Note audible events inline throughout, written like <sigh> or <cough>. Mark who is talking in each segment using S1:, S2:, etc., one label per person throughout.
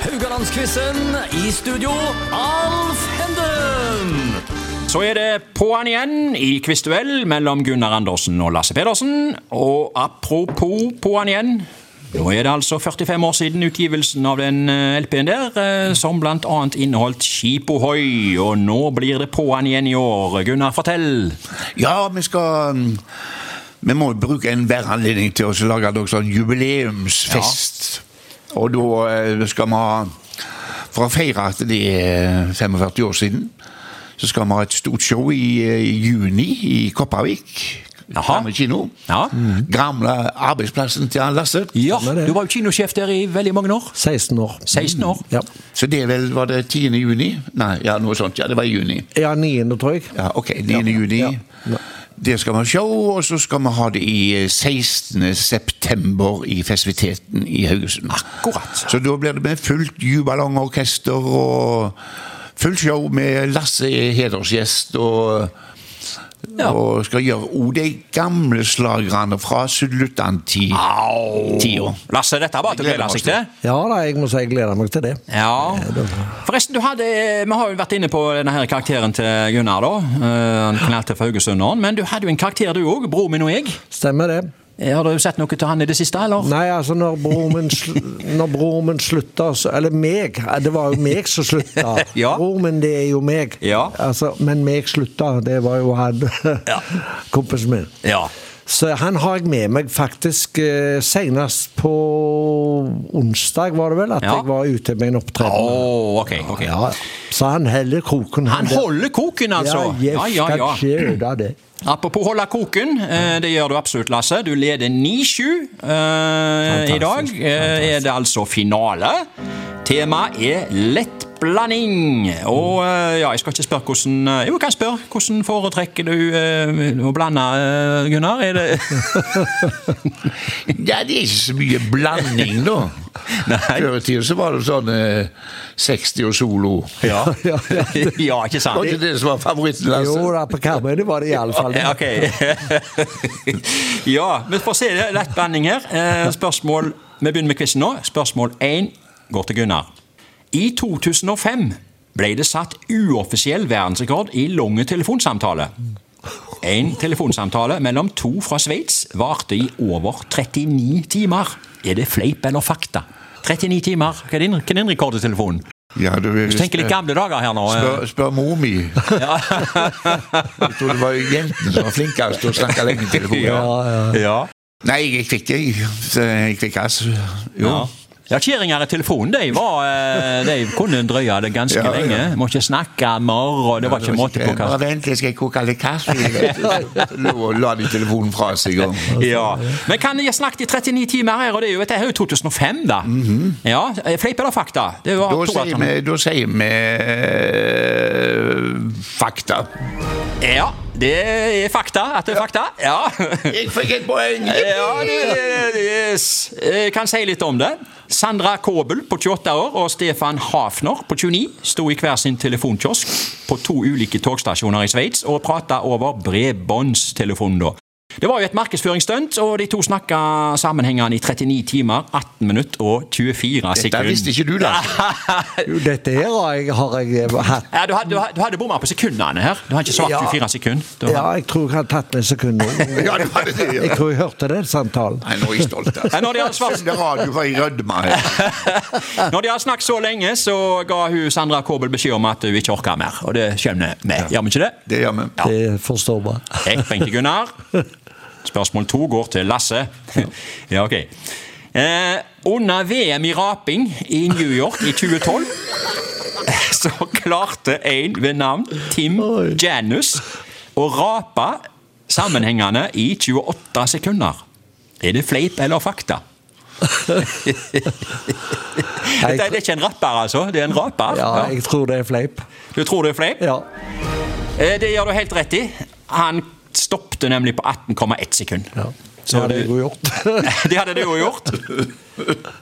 S1: Haugalandsquizen. I studio, Alf Henden.
S2: Så er det på'n igjen i Quiz-duell mellom Gunnar Andersen og Lasse Pedersen. Og apropos på'n igjen. Nå er det altså 45 år siden utgivelsen av den eh, LP-en der, eh, som blant annet inneholdt Skip ohoi. Og nå blir det på'n igjen i år. Gunnar, fortell.
S3: Ja, vi skal mm, Vi må bruke enhver anledning til å lage en sånn jubileumsfest. Og da eh, skal vi ha For å feire at det er 45 år siden, så skal vi ha et stort show i, eh, i juni i Kopervik.
S2: Jaha.
S3: Gamle kino.
S2: Ja.
S3: Gamle arbeidsplassen til han Lasse.
S2: Ja,
S4: Stemmer det.
S2: du var jo kinosjef der i veldig mange år.
S4: 16 år.
S2: 16 år.
S4: Ja,
S3: Så det er vel Var det 10. juni? Nei, ja, noe sånt. Ja, det var i juni.
S4: ja 9. tror jeg.
S3: Ja, ok, 9. juni. Det skal vi ha show, og så skal vi ha det i 16. september i festiviteten i Haugesund.
S2: Akkurat.
S3: Så da blir det med fullt jubalongorkester og fullt show med Lasse er hedersgjest og
S2: Ja.
S3: Og skal gjøre òg de gamle slagerne fra Sudluttan-tida.
S2: Ah, Lasse, dette var til å
S3: Gleder
S2: glede
S3: oss
S2: seg
S3: til.
S2: til.
S4: Ja da, jeg må si jeg gleder meg til Eh, det.
S2: Ja. Forresten, du hadde, vi har jo vært inne på denne her karakteren til Gunnar, da. Eh, Han knalte for Haugesunderen. Men du hadde jo en karakter, du òg. Bror min og jeg.
S4: Stemmer det?
S2: Eh, Har du sett noe til han i det siste, eller?
S4: Nei, altså, når broren min, sl når broren min slutta så- Eller meg. Det var jo meg som slutta.
S2: <laughs> Ja.
S4: Broren min, det er jo meg.
S2: Ja.
S4: Altså, men meg slutta, det var jo han
S2: Ja.
S4: <laughs> kompisen min.
S2: Ja.
S4: Så han har jeg med meg faktisk eh, senest på onsdag, var det vel, at
S2: Ja.
S4: jeg var ute med en
S2: Å,
S4: opptreden.
S2: ok. ok.
S4: Ja, ja. så han heller kroken.
S2: Han holder koken, altså.
S4: Ja,
S2: Ja,
S4: jeg
S2: ja,
S4: skal
S2: ja.
S4: ikke øde det.
S2: Apropos holde koken, eh, det gjør du absolutt, Lasse. Du leder 9-7 eh, i dag. Eh, er det altså finale. Temaet er lettblanding. Og eh, ja, jeg skal ikke spørre hvordan eh, Jo, jeg kan spørre. Hvordan foretrekker du eh, å blande, eh, Gunnar? Er det
S3: Ja, det er ikke så mye blanding, da. Før i tida så var det sånn eh, 60 og solo.
S2: Ja. <laughs> ja, ikke sant?
S3: Var ikke det som var favoritten? Lasse?
S4: Jo da, på Karmøyene var det i alle fall det.
S2: altså- <laughs> Ja, Ok. <laughs> ja, vi får se. Det er lett blanding her. Eh, Spørsmål Vi begynner med quizen nå. Spørsmål én går til Gunnar. I 2005 ble det satt uoffisiell verdensrekord i lange telefonsamtale. En telefonsamtale mellom to fra Sveits varte i over 39 timer. Er det fleip eller fakta? 39 timer. Hva er din, hva er din rekord i telefonen?
S3: Ja, du,
S2: Du tenker litt gamle dager her nå. eh. <laughs>
S3: Spør, spør mor mi. jeg tror det var jentene som var flinkest til å snakke lenge i telefonen.
S2: ja.
S3: Nei, jeg fikk det. Jeg fikk altså Jo.
S2: Ja. Ja, Kjerringer i telefonen de, var, eh, de kunne drøye det ganske
S3: Ja, ja.
S2: lenge. Må ikke snakke mer, og det var ikke måte på
S3: Bare
S2: hva
S3: vent, jeg skal koke litt kaffe. Lå og la de telefonen fra seg. Og.
S2: ja. Men kan jeg snakket i 39 timer her, og det er jo, dette er jo 2005, da. Ja, eh, Fleip eller fakta? Det var
S3: Mhm. Da
S2: to
S3: sier vi,
S2: alternativ.
S3: da sier vi eh, fakta.
S2: Ja, det er fakta. At det er fakta. Ja,
S3: Jeg fikk et poeng!
S2: ja det, det, yes. Jeg kan si litt om det. Sandra Kåbel på 28 år og Stefan Hafner på 29 sto i hver sin telefonkiosk på to ulike togstasjoner i Sveits og prata over bredbåndstelefonen. da. Det var jo et markedsføringsstunt, og de to snakka sammenhengende i 39 timer, 18 minutter og 24 sekunder.
S3: Dette visste ikke du, da.
S4: Jo, dette her har jeg, har jeg eh, hatt.
S2: Ja, du hadde, du hadde- du hadde bomma på sekundene her. Du har ikke svart
S4: Ja.
S2: 24 sekunder. Du har-
S4: Ja, jeg tror jeg hadde tatt meg en sekund nå.
S3: Ja, det var det.
S4: Jeg tror jeg hørte den samtalen.
S3: Nei, nå er jeg stolt. altså.
S2: Ja, nå er det ansvar.
S3: Skjønner radio for jeg rødmer her.
S2: Når de har snakket så lenge, så ga hun Sandra Kåbel beskjed om at hun ikke orka mer. Og det skjønner vi. Gjør vi ikke det?
S3: Det gjør vi.
S4: Det forstår man.
S2: Jeg tenkte Gunnar. Spørsmål to går til
S4: <laughs>
S2: Lasse. Ja, ok. Eh, under VM i raping i New York i 2012 så klarte en ved navn Tim Janus å rape sammenhengende i 28 sekunder. Er det fleip eller fakta? Dette, <laughs> det er ikke en rapper, altså. Det er en raper.
S4: Ja,
S2: Ja.
S4: jeg tror det er fleip.
S2: Du tror det er fleip?
S4: Ja.
S2: Eh, Det gjør du helt rett i. Han stoppte nemlig på 18,1 sekund. Så
S4: hadde
S2: du-
S4: jeg jo
S2: <laughs>
S4: gjort.
S2: Det hadde du jo gjort.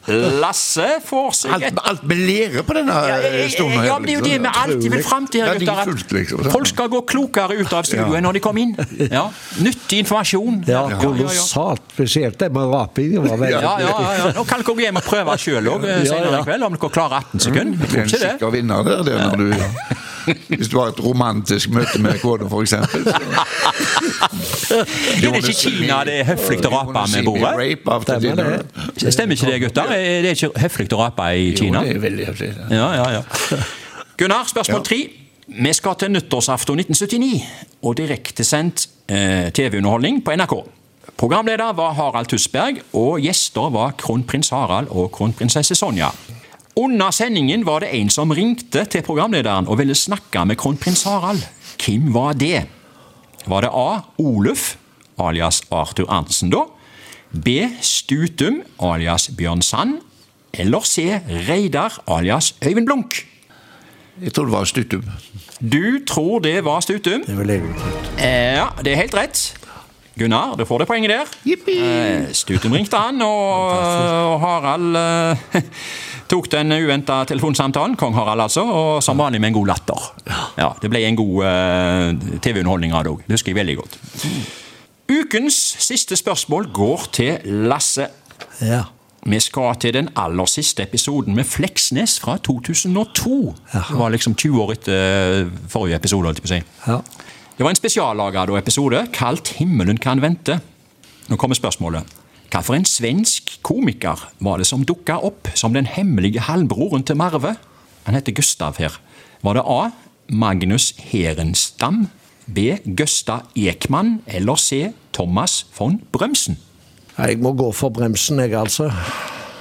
S2: Lasse får seg et
S3: Alt, alt med lære på denne
S2: ja,
S3: eh,
S2: jeg-
S3: stolen
S2: jeg- ja,
S3: her.
S2: men det er jo det
S3: liksom.
S2: vi alltid vil fram til. her,
S3: Ja, det er
S2: gutter, at
S3: fullt, liksom.
S2: Folk skal gå klokere ut av studioet
S3: Ja.
S2: når de kommer inn. Ja. Nyttig informasjon.
S4: Ja,
S2: ja, ja, ja.
S4: kolossalt. Spesielt det med rapingen var veldig
S2: Ja, ja, ja. Nå kan dere gå hjem og prøve selv òg
S4: Ja,
S2: senere
S4: ja.
S2: i kveld, om dere klarer 18 sekunder. Jeg
S3: Mm.
S2: tror
S3: Det er en
S2: ikke det.
S3: sikker vinner der, det når du <laughs> Hvis du har et romantisk møte med kona, for eksempel. så-
S2: Er det ikke Kina det er høflig å rape med bordet?
S3: Rape after
S4: Stemmer
S3: dinner.
S4: det.
S2: Stemmer ikke det, gutter? Er det ikke høflig å rape i Kina?
S3: Jo, det er veldig høflig. det.
S2: Ja, ja, ja. <laughs> Gunnar, spørsmål
S3: Ja.
S2: tre. Vi skal til nyttårsaften 1979 og direktesendt eh, TV-underholdning på NRK. Programleder var Harald Tusberg, og gjester var kronprins Harald og kronprinsesse Sonja. Under sendingen var det en som ringte til programlederen og ville snakke med kronprins Harald. Hvem var det? Var det A. Oluf, alias Arthur Arntzen, da? B. Stutum, alias Bjørn Sand? Eller C. Reidar, alias Øyvind Blunk?
S3: Jeg tror det var Stuttum.
S2: Du tror det var Stutum?
S4: Det er vel egentlig-
S2: Eh, Ja, det er helt rett. Gunnar, du får det poenget der. Eh, Stutum ringte han, og, og Harald eh, <laughs> tok den uventa telefonsamtalen. Kong Harald, altså. Og som vanlig med en god latter. Ja, Det ble en god eh, TV-underholdning av det òg. Det husker jeg veldig godt. Ukens siste spørsmål går til Lasse.
S4: Ja.
S2: Vi skal til den aller siste episoden med Fleksnes fra 2002.
S4: Jaha.
S2: Det var liksom 20 år etter eh, forrige episode. holdt jeg på å si.
S4: ja.
S2: Det var en spesiallaga da episode kalt 'Himmelen kan vente'. Nå kommer spørsmålet. Hvilken svensk komiker var det som dukka opp som den hemmelige halvbroren til Marve? Han heter Gustav her. Var det A. Magnus Herenstam? B. Gøsta Ekman? Eller C. Thomas von Brømsen?
S4: Jeg må gå for bremsen, jeg, altså.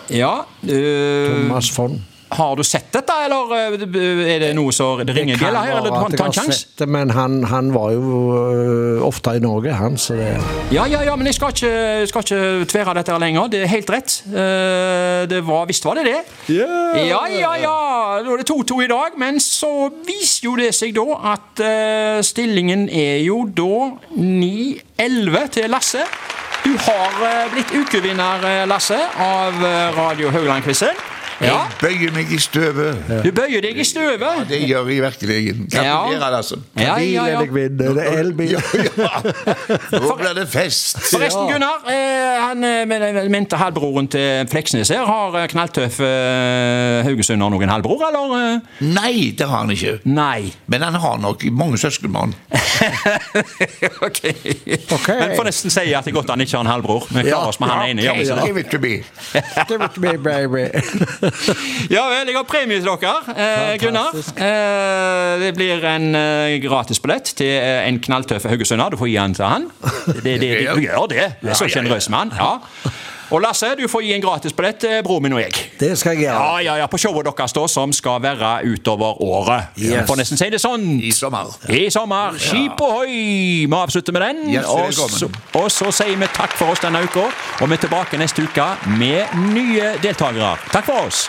S2: Ja øh,
S4: Thomas Fonn.
S2: Har du sett dette, eller eh, er det noe som det ringer en bjelle her? Eller ta- ta en sjanse?
S4: det, men han, han var jo øh, ofte i Norge, han, så det
S2: Ja, ja, ja, men jeg skal ikke, jeg skal ikke tvere dette her lenger. Det er helt rett. Eh, Det var, Visst var det det. Ja, ja, ja. Da er det 2-2 i dag, men så viser jo det seg da at eh, stillingen er jo da 9-11 til Lasse. Du har eh, blitt ukevinner, eh, Lasse, av eh, Radio Haugland-quizen. Ja.
S3: Bøyer meg i støvet.
S2: Du bøyer deg i støvet.
S3: Det gjør jeg virkelig. Gratulerer, altså.
S2: Ja, ja, ja.
S4: Bilen jeg vinner, det er elbil. <laughs>
S3: <laughs> Ja, ja. Nå blir det fest.
S2: Forresten, Gunnar. Eh, han eh, men- mente halvbroren til Fleksnes her. Har eh, knalltøff eh, haugesunder noen halvbror, eller? eh?
S3: Nei, det har han ikke.
S2: Nei.
S3: Men han har nok mange søskenbarn.
S2: ok.
S4: <laughs> Ok.
S2: Men får nesten si at det er godt han ikke har en halvbror. Vi
S4: Ja,
S2: klarer oss med han ene. gjør vi ikke det?
S3: Give it to me.
S4: Give it to me,
S2: <laughs>
S4: baby.
S2: Ja vel, jeg har premie til dere, eh, Gunnar. Eh, det blir en eh, gratisbillett til eh, en knalltøff haugesunder. Du får gi den til han. Det, det, det, du gjør det. Du er så sjenerøs med han. Ja. Og Lasse, du får gi en gratisbillett til broren min og jeg.
S4: Det skal jeg gjøre.
S2: Ja, ja, ja, på showet deres da, som skal være utover året. Vi
S4: Yes.
S2: Får nesten si det sånn.
S3: I sommer.
S2: I sommer. Skip ohoi! Vi avslutter med den.
S3: Hjertelig
S2: og,
S3: velkommen.
S2: så, og så sier vi takk for oss denne uka, og vi er tilbake neste uke med nye deltakere. Takk for oss.